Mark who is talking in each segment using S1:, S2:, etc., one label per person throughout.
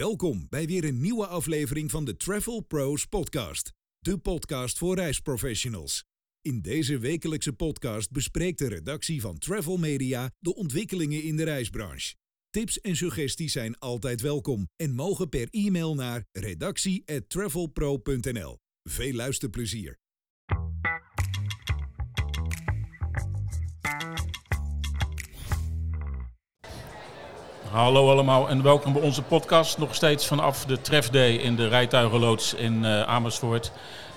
S1: Welkom bij weer een nieuwe aflevering van de Travel Pros Podcast, de podcast voor reisprofessionals. In deze wekelijkse podcast bespreekt de redactie van Travel Media de ontwikkelingen in de reisbranche. Tips en suggesties zijn altijd welkom en mogen per e-mail naar redactie@travelpro.nl. Veel luisterplezier.
S2: Hallo allemaal en welkom bij onze podcast. Nog steeds vanaf de trefday in de rijtuigenloods in eh, Amersfoort.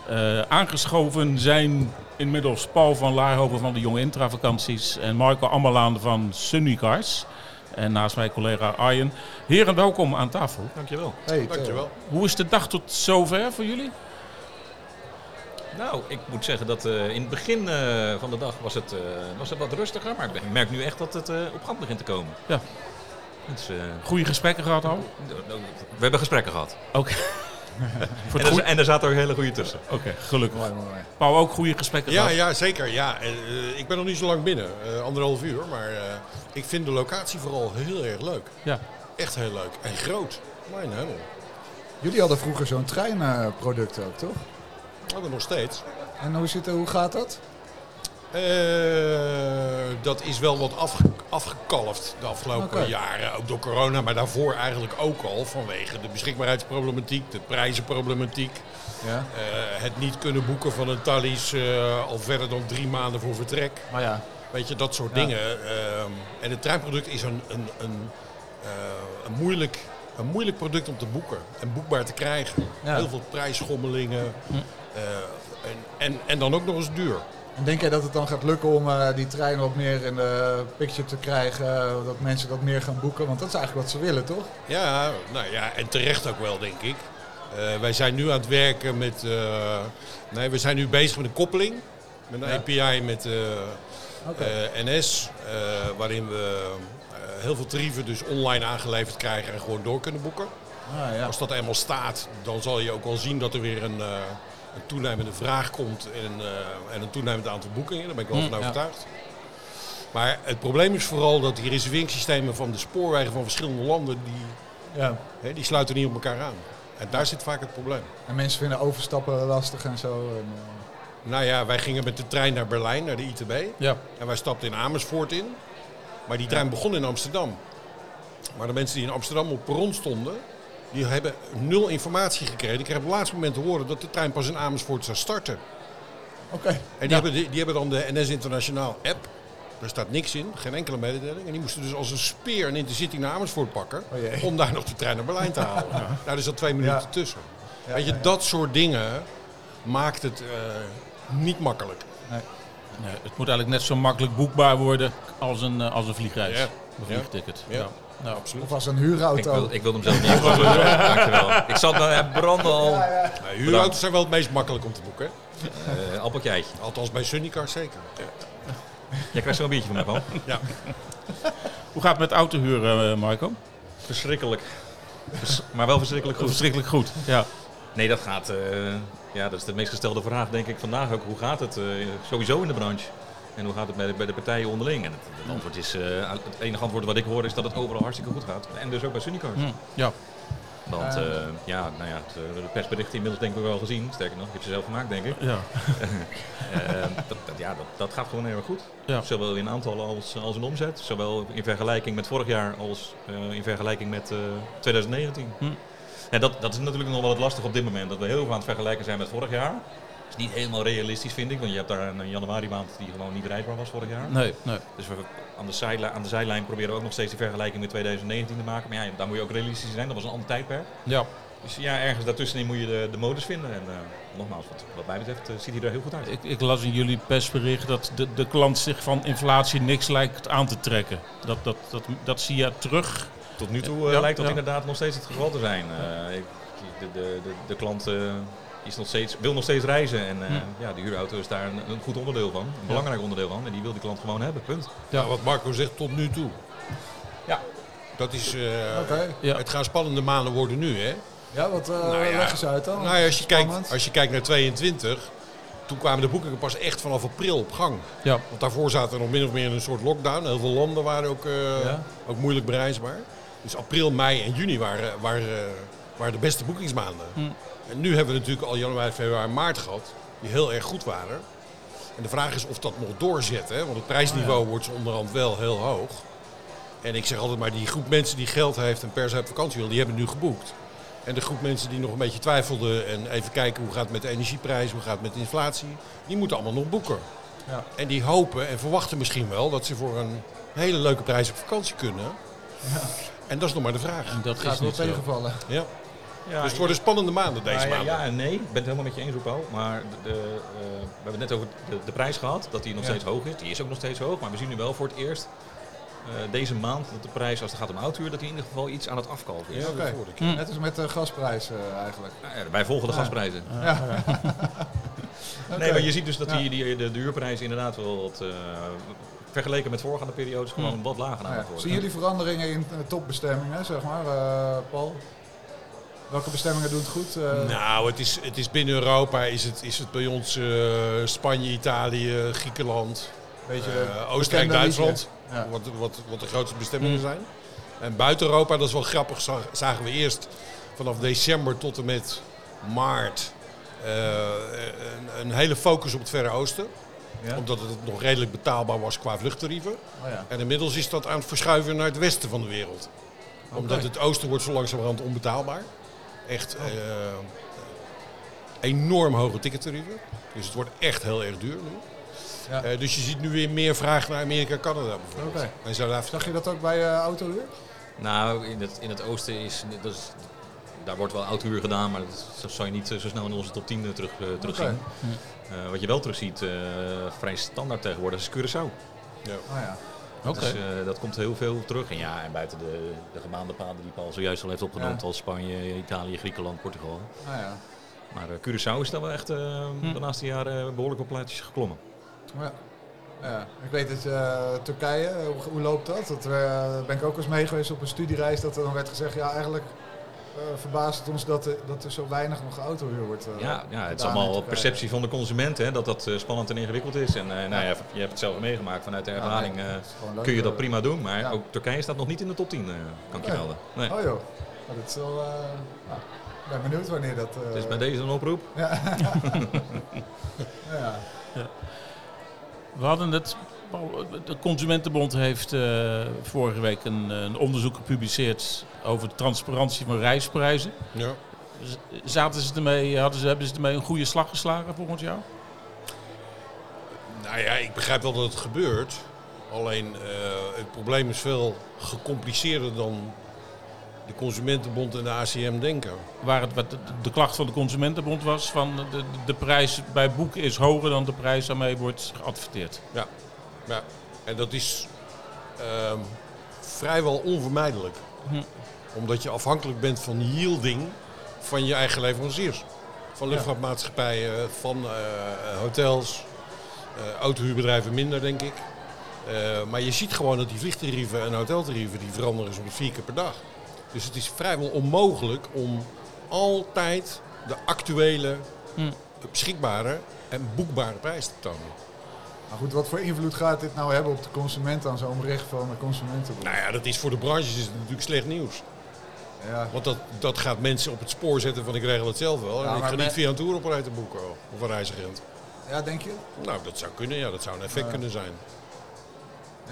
S2: Eh, aangeschoven zijn inmiddels Paul van Laarhoven van de Jonge Intra Vakanties en Marco Ammerlaan van Sunny Cars. En naast mij collega Arjen. Heren, welkom aan tafel.
S3: Dankjewel.
S4: Hey,
S3: Dankjewel.
S2: Hoe is de dag tot zover voor jullie?
S3: Nou, ik moet zeggen dat eh, in het begin eh, van de dag was het, eh, was het wat rustiger. Maar ik merk nu echt dat het eh, op gang begint te komen.
S2: Ja.
S3: Het is, eh,
S2: Goede gesprekken gehad al?
S3: we hebben gesprekken gehad.
S2: Oké. voor het
S3: En er,
S2: goed?
S3: en er zaten ook hele goede tussen.
S2: Oké, gelukkig. Paul, ook goede gesprekken
S4: Ja,
S2: gehad?
S4: ja, zeker. Ja. En, eh, ik ben nog niet zo lang binnen, eh, anderhalf uur. Maar eh, ik vind de locatie vooral heel erg leuk.
S2: Ja.
S4: Echt heel leuk. En groot. Mijn hemel.
S5: Jullie hadden vroeger zo'n treinproduct ook, toch?
S4: Maar dat nog steeds.
S5: En hoe, zit, hoe gaat dat?
S4: Eh, dat is wel wat afge- afgekalfd de afgelopen
S5: Oké.
S4: jaren. Ook door corona, maar daarvoor eigenlijk ook al. Vanwege de beschikbaarheidsproblematiek, de prijzenproblematiek.
S5: Ja.
S4: eh, het niet kunnen boeken van een Thalys eh, al verder dan drie maanden voor vertrek.
S5: Maar ja,
S4: Weet je, dat soort dingen. ehm, en het treinproduct is een, een, een, eh, een, moeilijk, een moeilijk product om te boeken en boekbaar te krijgen.
S5: Ja. Hm.
S4: Heel veel prijsschommelingen. eh, en, en, en dan ook nog eens duur.
S5: en denk jij dat het dan gaat lukken om eh, die trein wat meer in de picture te krijgen? eh, dat mensen dat meer gaan boeken? Want dat is eigenlijk wat ze willen, toch?
S4: Ja, nou ja, en terecht ook wel, denk ik. Eh, wij zijn nu aan het werken met. eh, nee, we zijn nu bezig met een koppeling. Met een API met eh, eh, NS. eh, waarin we eh, heel veel tarieven dus online aangeleverd krijgen en gewoon door kunnen boeken.
S5: Ah, ja.
S4: Als dat eenmaal staat, dan zal je ook wel zien dat er weer een, eh, een toenemende vraag komt en, eh, en een toenemend aantal boekingen. Daar ben ik wel van overtuigd. Maar het probleem is vooral dat die reserveringssystemen van de spoorwegen van verschillende landen, die,
S5: ja.
S4: hè, die sluiten niet op elkaar aan. En daar zit vaak het probleem.
S5: En mensen vinden overstappen lastig en zo. En, eh,
S4: Nou ja, wij gingen met de trein naar Berlijn, naar de ITB.
S2: Ja.
S4: En wij stapten in Amersfoort in. Maar die trein begon in Amsterdam. Maar de mensen die in Amsterdam op perron stonden, die hebben nul informatie gekregen. Ik kreeg op het laatste moment te horen dat de trein pas in Amersfoort zou starten.
S5: Oké.
S4: En die, hebben, die, die hebben dan de NS Internationaal app. Daar staat niks in, geen enkele mededeling. En die moesten dus als een speer een intercity naar Amersfoort pakken.
S5: Oh jee.
S4: om daar nog de trein naar Berlijn te halen. Daar is al twee minuten
S5: Ja.
S4: tussen. Weet je, dat soort dingen maakt het eh, niet makkelijk.
S2: Nee, het moet eigenlijk net zo makkelijk boekbaar worden als een, eh, als een vliegreis.
S4: Ja.
S2: Een vliegticket.
S4: Ja.
S2: Nou,
S5: Of als een
S3: Ik,
S5: huurauto.
S3: wil, ik wilde hem zelf niet afvallen. Dankjewel. Ik zat nou, hij brandde al.
S4: Nou, huurauto's zijn wel het meest makkelijk om te boeken. hè?
S3: Eh, appeltje eitje.
S4: Althans bij Sunnycar zeker.
S3: Jij krijgt zo'n biertje van mij, Paul.
S4: Ja.
S2: Hoe gaat het met autohuren, eh, Marco?
S3: Verschrikkelijk. Vers- Maar wel verschrikkelijk goed.
S2: Verschrikkelijk goed. Ja.
S3: Nee, dat gaat. eh, ja, dat is de meest gestelde vraag, denk ik, vandaag ook. Hoe gaat het eh, sowieso in de branche? En hoe gaat het bij de, bij de partijen onderling? En het, het antwoord is, eh, het enige antwoord wat ik hoor is dat het overal hartstikke goed gaat. En dus ook bij Sunnycars.
S2: Hm. ja.
S3: Want eh, ja, nou ja, het, eh, de persberichten inmiddels denk ik wel gezien. Sterker nog, ik heb ze zelf gemaakt, denk ik.
S2: ja.
S3: Eh, dat, dat- ja, dat, dat gaat gewoon heel erg goed.
S2: Ja.
S3: Zowel in aantallen als, als in omzet. Zowel in vergelijking met vorig jaar als eh, in vergelijking met eh, 2019.
S2: Hm.
S3: Ja, dat, dat is natuurlijk nog wel het lastige op dit moment. Dat we heel veel aan het vergelijken zijn met vorig jaar. Dat is niet helemaal realistisch, vind ik. Want je hebt daar een januari maand die gewoon niet rijdbaar was vorig jaar.
S2: Nee, nee.
S3: Dus we, aan, de zijlijn, aan de zijlijn proberen we ook nog steeds die vergelijking met 2019 te maken. Maar ja, daar moet je ook realistisch zijn. Dat was een ander tijdperk.
S2: Ja.
S3: Dus ja, ergens daartussenin moet je de, de modus vinden. En eh, nogmaals, wat, wat mij betreft eh, ziet hij er heel goed uit.
S2: Ik, ik las in jullie persbericht dat de, de klant zich van inflatie niks lijkt aan te trekken. Dat, dat, dat, dat zie je terug.
S3: Tot nu toe eh,
S2: Ja,
S3: lijkt dat
S2: ja.
S3: inderdaad nog steeds het geval te zijn. Eh, ik- de, de, de, de klant eh, is nog steeds, wil nog steeds reizen en eh, ja, de huurauto is daar een, een goed onderdeel van. Een belangrijk onderdeel van en die wil die klant gewoon hebben, punt.
S4: Nou, wat Marco zegt tot nu toe.
S3: Ja.
S4: Dat is, eh,
S5: Oké.
S2: Ja.
S4: Het gaan spannende maanden worden nu, hè?
S5: Ja, wat eh
S4: ja.
S5: leggen ze uit dan?
S4: Nou, ja, als, je kijkt,
S5: Spannend.
S4: als je kijkt naar 22, toen kwamen de boekingen pas echt vanaf april op gang.
S2: Ja.
S4: Want daarvoor zaten we nog min of meer in een soort lockdown. Heel veel landen waren ook, eh,
S2: Ja.
S4: ook moeilijk bereisbaar. Dus april, mei en juni waren, waren, eh, waren de beste boekingsmaanden.
S2: Hm.
S4: En nu hebben we natuurlijk al januari, februari, maart gehad, die heel erg goed waren. En de vraag is of dat nog doorzet, hè? want het prijsniveau wordt onderhand wel heel hoog. En ik zeg altijd maar, die groep mensen die geld heeft en per se op vakantie wil, die hebben nu geboekt. En de groep mensen die nog een beetje twijfelden en even kijken hoe gaat het met de energieprijs, hoe gaat het met de inflatie, die moeten allemaal nog boeken.
S5: Ja.
S4: En die hopen en verwachten misschien wel dat ze voor een hele leuke prijs op vakantie kunnen. En dat is nog maar de vraag.
S2: En dat
S5: Gaat
S2: is
S5: wel
S2: niet zo.
S5: tegenvallen.
S4: Ja.
S3: Ja,
S4: Dus het worden spannende maanden deze
S3: Nou ja,
S4: maanden.
S3: ja en nee, ik ben het helemaal met je eens, Roepel. Maar de, de, eh, we hebben het net over de, de prijs gehad, dat die nog
S5: Ja.
S3: steeds hoog is. Die is ook nog steeds hoog, maar we zien nu wel voor het eerst eh, deze maand dat de prijs, als het gaat om autouur, dat die in ieder geval iets aan het afkalven is.
S4: Ja,
S5: Oké.
S4: dat hoorde ik.
S5: Net als met de gasprijs eh, eigenlijk.
S3: Nou ja, wij volgen de gasprijzen.
S5: Oké.
S3: Nee, maar je ziet dus dat
S5: Ja.
S3: die, die, de duurprijs inderdaad wel wat, eh, vergeleken met voorgaande periodes, gewoon wat lager aan
S5: Nou ja.
S3: het worden.
S5: Zien jullie veranderingen in eh, topbestemmingen, zeg maar, eh, Paul? Welke bestemmingen doen het goed? Eh,
S4: Nou, het is, het is binnen Europa, is het, is het bij ons eh, Spanje, Italië, Griekenland,
S5: beetje
S4: eh,
S5: bekende
S4: Oostenrijk, Duitsland.
S5: liedjes. Ja. Mm.
S4: Wat, wat, wat de grootste bestemmingen zijn. En buiten Europa, dat is wel grappig, zag- zagen we eerst vanaf december tot en met maart eh, een, een hele focus op het Verre Oosten.
S5: Ja.
S4: Omdat het nog redelijk betaalbaar was qua vluchttarieven.
S5: Oh, ja.
S4: En inmiddels is dat aan het verschuiven naar het westen van de wereld. Omdat het oosten wordt zo langzamerhand onbetaalbaar. Echt
S5: Oh.
S4: eh, enorm hoge tickettarieven. Dus het wordt echt heel erg duur nu.
S5: Ja.
S4: Eh, dus je ziet nu weer meer vraag naar Amerika en Canada bijvoorbeeld.
S5: Oké.
S4: En Zuid-Afrika.
S5: Zag je dat ook bij eh, autohuur?
S3: Nou, in het, in het oosten is, dat is- daar wordt wel autouur gedaan, maar dat zou je niet eh, zo snel in onze top 10 terug, eh, terugzien.
S5: Oké.
S3: Eh, wat je wel terugziet, eh vrij standaard tegenwoordig, is Curaçao.
S5: Oh, ja.
S2: Oké.
S3: Dus eh, dat komt heel veel terug. En ja, en buiten de, de gemaande paden die Paul zojuist al heeft opgenoemd,
S5: Ja.
S3: als Spanje, Italië, Griekenland, Portugal.
S5: Ah, ja.
S3: Maar eh, Curaçao is daar wel echt eh,
S5: Hmm.
S3: de laatste jaren eh, behoorlijk op plaatjes geklommen.
S5: Ja. Ja. Ik weet dat eh, Turkije, eh, hoe, hoe loopt dat? dat eh, ben ik ook eens mee geweest op een studiereis dat er dan werd gezegd, ja eigenlijk eh, verbaast het ons dat, er- dat er zo weinig nog autohuur wordt. eh,
S3: Ja, ja, het is
S5: gedaan in
S3: allemaal
S5: Turkije.
S3: perceptie van de consument hè, dat dat eh, spannend en ingewikkeld is. En eh, nou ja, je hebt het zelf meegemaakt vanuit de
S5: Ja,
S3: ervaring.
S5: nee,
S3: eh,
S5: het is gewoon leuk,
S3: kun je dat
S5: eh.
S3: prima doen, maar
S5: ja.
S3: ook Turkije staat nog niet in de top 10, eh, kan ik je
S5: Nee.
S3: melden. Nee.
S5: Oh joh, Nou, dat is wel... eh, nou, ik ben benieuwd wanneer dat... eh,
S3: Dus bij deze een oproep.
S5: ja.
S2: We hadden het. Paul, De Consumentenbond heeft eh, vorige week een, een onderzoek gepubliceerd over de transparantie van reisprijzen.
S4: Ja.
S2: Z- Zaten ze ermee, hadden ze, hebben ze ermee een goede slag geslagen volgens jou?
S4: Nou ja, ik begrijp wel dat het gebeurt. Alleen eh, het probleem is veel gecompliceerder dan de Consumentenbond en de ACM denken.
S2: Waar het, wat de- de klacht van de Consumentenbond was van de, de, de prijs bij boek is hoger dan de prijs waarmee wordt geadverteerd.
S4: Ja, ja. en dat is ehm, vrijwel onvermijdelijk. Omdat je afhankelijk bent van yielding van je eigen leveranciers. Van luchtvaartmaatschappijen, van eh, hotels, eh, autohuurbedrijven minder denk ik. Eh, maar je ziet gewoon dat die vliegtarieven en hoteltarieven die veranderen soms vier keer per dag. Dus het is vrijwel onmogelijk om altijd de actuele, beschikbare en boekbare prijs te tonen.
S5: Maar goed, wat voor invloed gaat dit nou hebben op de consument aan zo'n bericht van de consumenten?
S4: Nou ja, dat is voor de branches is het natuurlijk slecht nieuws.
S5: Ja.
S4: Want dat, dat gaat mensen op het spoor zetten van ik regel het zelf wel.
S5: Ja,
S4: en ik
S5: maar
S4: ga niet
S5: met-
S4: via een touroperator boeken oh, of een reisagent.
S5: ja, denk je?
S4: Nou, dat zou kunnen, ja. Dat zou een effect kunnen zijn.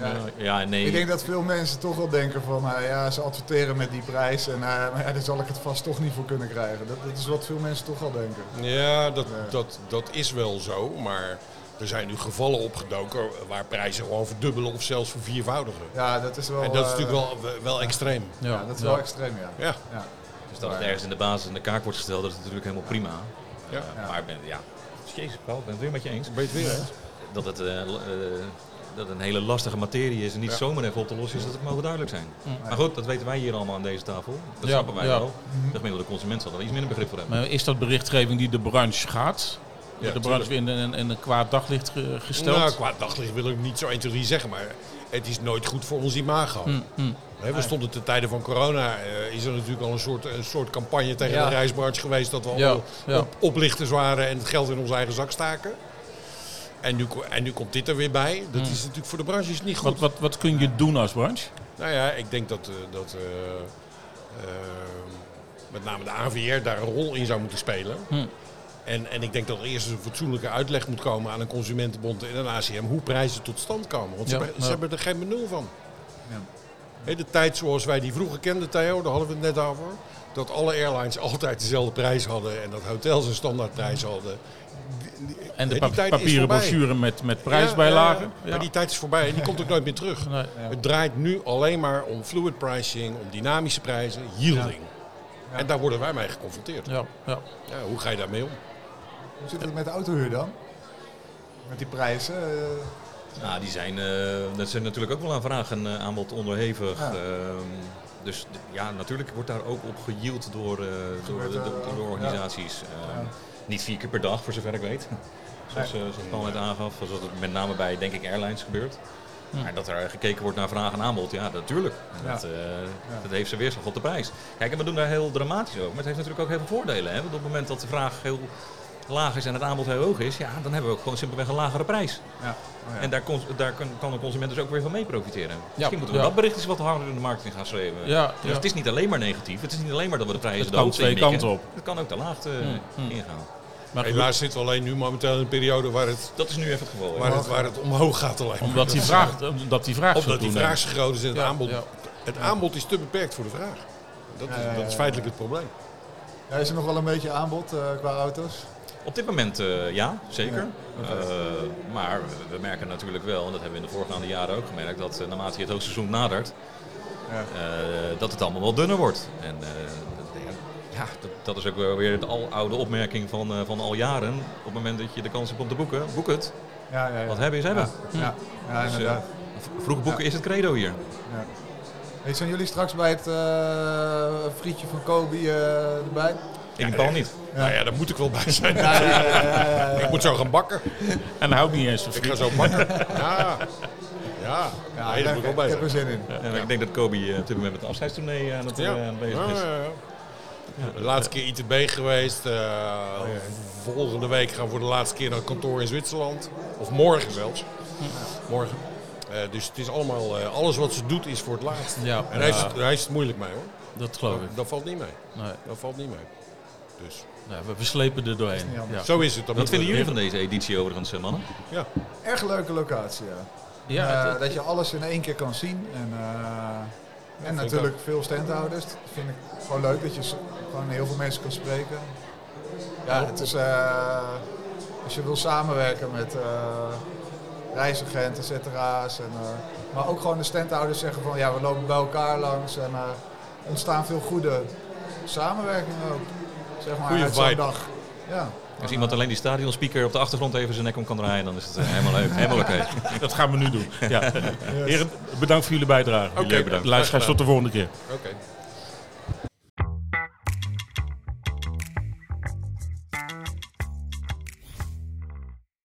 S5: Ja.
S3: Eh, ja, nee.
S5: Ik denk dat veel mensen toch wel denken van, nou ja, ze adverteren met die prijs en eh, maar ja, daar zal ik het vast toch niet voor kunnen krijgen. Dat, dat is wat veel mensen toch al denken.
S4: Ja, dat, dat, dat is wel zo. Maar er zijn nu gevallen opgedoken waar prijzen gewoon verdubbelen of zelfs verviervoudigen.
S5: Ja, dat is wel...
S4: En dat is
S5: eh,
S4: natuurlijk wel, wel extreem.
S5: Ja, dat is wel extreem, ja.
S4: Ja,
S5: Ja.
S3: Dus dat het ergens in de basis in de kaak wordt gesteld, dat is natuurlijk helemaal prima.
S4: Ja.
S3: Eh, Maar ik ben, ja. Jezus, Paul, ik ben het weer met je eens.
S4: weet weer. hè?
S3: Dat het eh, l- eh, dat het een hele lastige materie is en niet
S4: Ja.
S3: zomaar even op te lossen is, dat het mogen duidelijk zijn.
S5: Mm.
S3: Maar goed, dat weten wij hier allemaal aan deze tafel.
S2: Ja,
S3: Dat snappen wij
S2: ja.
S3: wel. De gemiddelde consument zal er iets minder begrip voor hebben.
S2: Maar is dat berichtgeving die de branche gaat? Wordt de branche weer in een, in een kwaad daglicht ge- gesteld?
S4: Nou, qua daglicht wil ik niet zo 1, 2, 3 zeggen, maar het is nooit goed voor ons imago.
S2: Mm,
S4: Hè, we stonden ten tijde van corona, eh, is er natuurlijk al een soort, een soort campagne tegen
S2: Ja.
S4: de reisbranche geweest dat we
S2: Ja,
S4: allemaal
S2: ja.
S4: op- oplichters waren en het geld in onze eigen zak staken.
S2: Mm.
S4: En nu, ko- en nu komt dit er weer bij. Dat is natuurlijk voor de branche is niet goed.
S2: wat, wat, wat kun je doen als branche?
S4: Nou ja, ik denk dat, eh, dat eh, eh, met name de AVR daar een rol in zou moeten spelen.
S2: Hm.
S4: En, en ik denk dat er eerst een fatsoenlijke uitleg moet komen aan een consumentenbond en een ACM hoe prijzen tot stand komen. Want ze,
S2: Ja,
S4: hebben- ze
S2: ja.
S4: hebben er geen benul van.
S5: Ja.
S4: Hè, de tijd zoals wij die vroeger kenden, Theo, daar hadden we het net over. Dat alle airlines altijd dezelfde prijs hadden en dat hotels een
S2: Hm.
S4: standaardprijs hadden. Die- die-
S2: En
S4: hè,
S2: de
S4: die
S2: pa-
S4: tijd is
S2: papieren
S4: voorbij.
S2: brochure met, met
S4: Ja,
S2: prijsbijlagen.
S4: ja,
S2: Ja,
S4: Maar die tijd is voorbij en die komt ook nooit meer terug.
S2: Nee.
S4: Het draait nu alleen maar om fluid pricing, om dynamische prijzen, yielding.
S5: Ja.
S4: En daar worden wij mee geconfronteerd.
S2: ja, ja.
S4: Ja, hoe ga je daarmee om?
S5: Hoe zit het met de autohuur dan? Met die prijzen? eh,
S3: Nou, die zijn, eh, dat zijn natuurlijk ook wel aan vraag en eh, aanbod onderhevig.
S5: Ja.
S3: Ehm, dus d- ja, natuurlijk wordt daar ook op gejield door, eh, door,
S5: Gebeurt,
S3: de,
S5: eh,
S3: door- door
S5: ja.
S3: organisaties. Ehm, Niet vier keer per dag, voor zover ik weet. Zoals, eh zoals Paul net aangaf, zoals het met name bij, denk ik, airlines gebeurt. Maar dat er gekeken wordt naar vraag en aanbod, ja, natuurlijk. Dat, eh, dat heeft zijn weerslag op de prijs. Kijk, en we doen daar heel dramatisch over. Maar het heeft natuurlijk ook heel veel voordelen. Hè? Want op het moment dat de vraag heel laag is en het aanbod heel hoog is, ja, dan hebben we ook gewoon simpelweg een lagere prijs.
S5: ja. Oh, ja.
S3: En daar, kon- daar kan, kan de consument dus ook weer van mee profiteren. Misschien moeten we
S2: ja.
S3: dat bericht eens wat harder in de markt in gaan schreeuwen.
S2: Ja,
S3: dus
S2: ja.
S3: het is niet alleen maar negatief. Het is niet alleen maar dat we de prijzen
S2: Het
S3: de
S2: kan
S3: hoogte
S2: twee
S3: inmikken.
S2: kanten op. Hmm.
S3: Het kan ook de laagte eh, ingaan.
S2: Maar goed,
S4: Helaas zitten we alleen nu momenteel in een periode waar het,
S3: Dat is nu even het geval. hè.
S4: waar het, waar het omhoog gaat alleen maar.
S2: omdat die vraag, omdat die vraag zo
S4: Omdat die
S2: toeneemt.
S4: vraag zo groot is en het
S2: Ja,
S4: aanbod...
S2: ja.
S4: Het aanbod is te beperkt voor de vraag. Dat is,
S5: Ja, ja, ja,
S4: dat is
S5: ja.
S4: feitelijk het probleem.
S5: Ja, is er nog wel een beetje aanbod eh, qua auto's?
S3: Op dit moment eh, ja, zeker.
S5: Ja, oké.
S3: Eh, maar we- we merken natuurlijk wel, en dat hebben we in de voorgaande jaren ook gemerkt, dat eh, naarmate je het hoogseizoen nadert,
S5: Ja.
S3: eh, dat het allemaal wel dunner wordt. En eh, dat- ja, dat, dat is ook wel weer de aloude opmerking van, eh, van al jaren. Op het moment dat je de kans hebt om te boeken, boek het.
S5: Ja, ja, ja.
S3: Wat hebben is hebben.
S5: Ja, ja
S3: Dus, eh,
S5: inderdaad.
S3: v- vroeg boeken is het credo hier.
S5: Ja. Hey, zijn jullie straks bij het eh, frietje van Kobe eh, erbij?
S3: In ieder geval niet.
S4: Nou ja, daar moet ik wel bij zijn.
S5: Ja, ja, ja, ja, ja, ja.
S4: Ik moet zo gaan bakken.
S2: En hij houdt niet eens van
S4: Ik ga
S2: friet.
S4: zo bakken. Ja, ja.
S5: Ja,
S4: Nee, daar moet
S5: ik,
S4: ik wel
S5: heb-
S4: bij
S5: ik
S4: zijn.
S5: heb er zin in.
S3: En Ik denk dat Kobe eh, op dit moment met een afscheidstournee aan het
S4: Ja.
S3: eh, aan het bezig is.
S4: Ja, ja, ja. De laatste keer ITB geweest. eh, Volgende week gaan we voor de laatste keer naar het kantoor in Zwitserland. Of morgen zelfs. Morgen. Eh, dus het is allemaal, eh, alles wat ze doet is voor het laatst.
S2: Ja,
S4: En hij is, het- hij is het moeilijk mee hoor.
S2: dat geloof ik.
S4: Dat valt niet mee.
S2: Nee,
S4: Dat valt niet mee. Dus
S2: nou, we, we slepen er doorheen.
S5: niet
S2: Ja.
S5: handig.
S4: zo is het.
S3: Wat vinden jullie van deze editie overigens, eh, mannen?
S4: Ja.
S5: Erg leuke locatie, ja.
S2: Ja,
S5: Eh,
S2: het-
S5: dat je alles in één keer kan zien. En, eh, en natuurlijk veel standhouders. Dat vind ik gewoon leuk dat je s- gewoon heel veel mensen kan spreken. Ja, het is, eh, als je wil samenwerken met eh, reisagenten, etc'era's. En, eh, maar ook gewoon de standhouders zeggen van ja, we lopen bij elkaar langs. En eh, er ontstaan veel goede samenwerkingen ook. Zeg maar
S4: Goeie
S5: uit zo'n
S4: vibe.
S5: dag. Ja.
S3: Als iemand alleen die stadionspeaker op de achtergrond even zijn nek om kan draaien, dan is het eh, helemaal leuk. Helemaal oké.
S2: dat gaan we nu doen. Ja. Heren, bedankt voor jullie bijdrage.
S4: Oké, bedankt.
S2: Luisteraars, tot de volgende keer.
S4: Oké.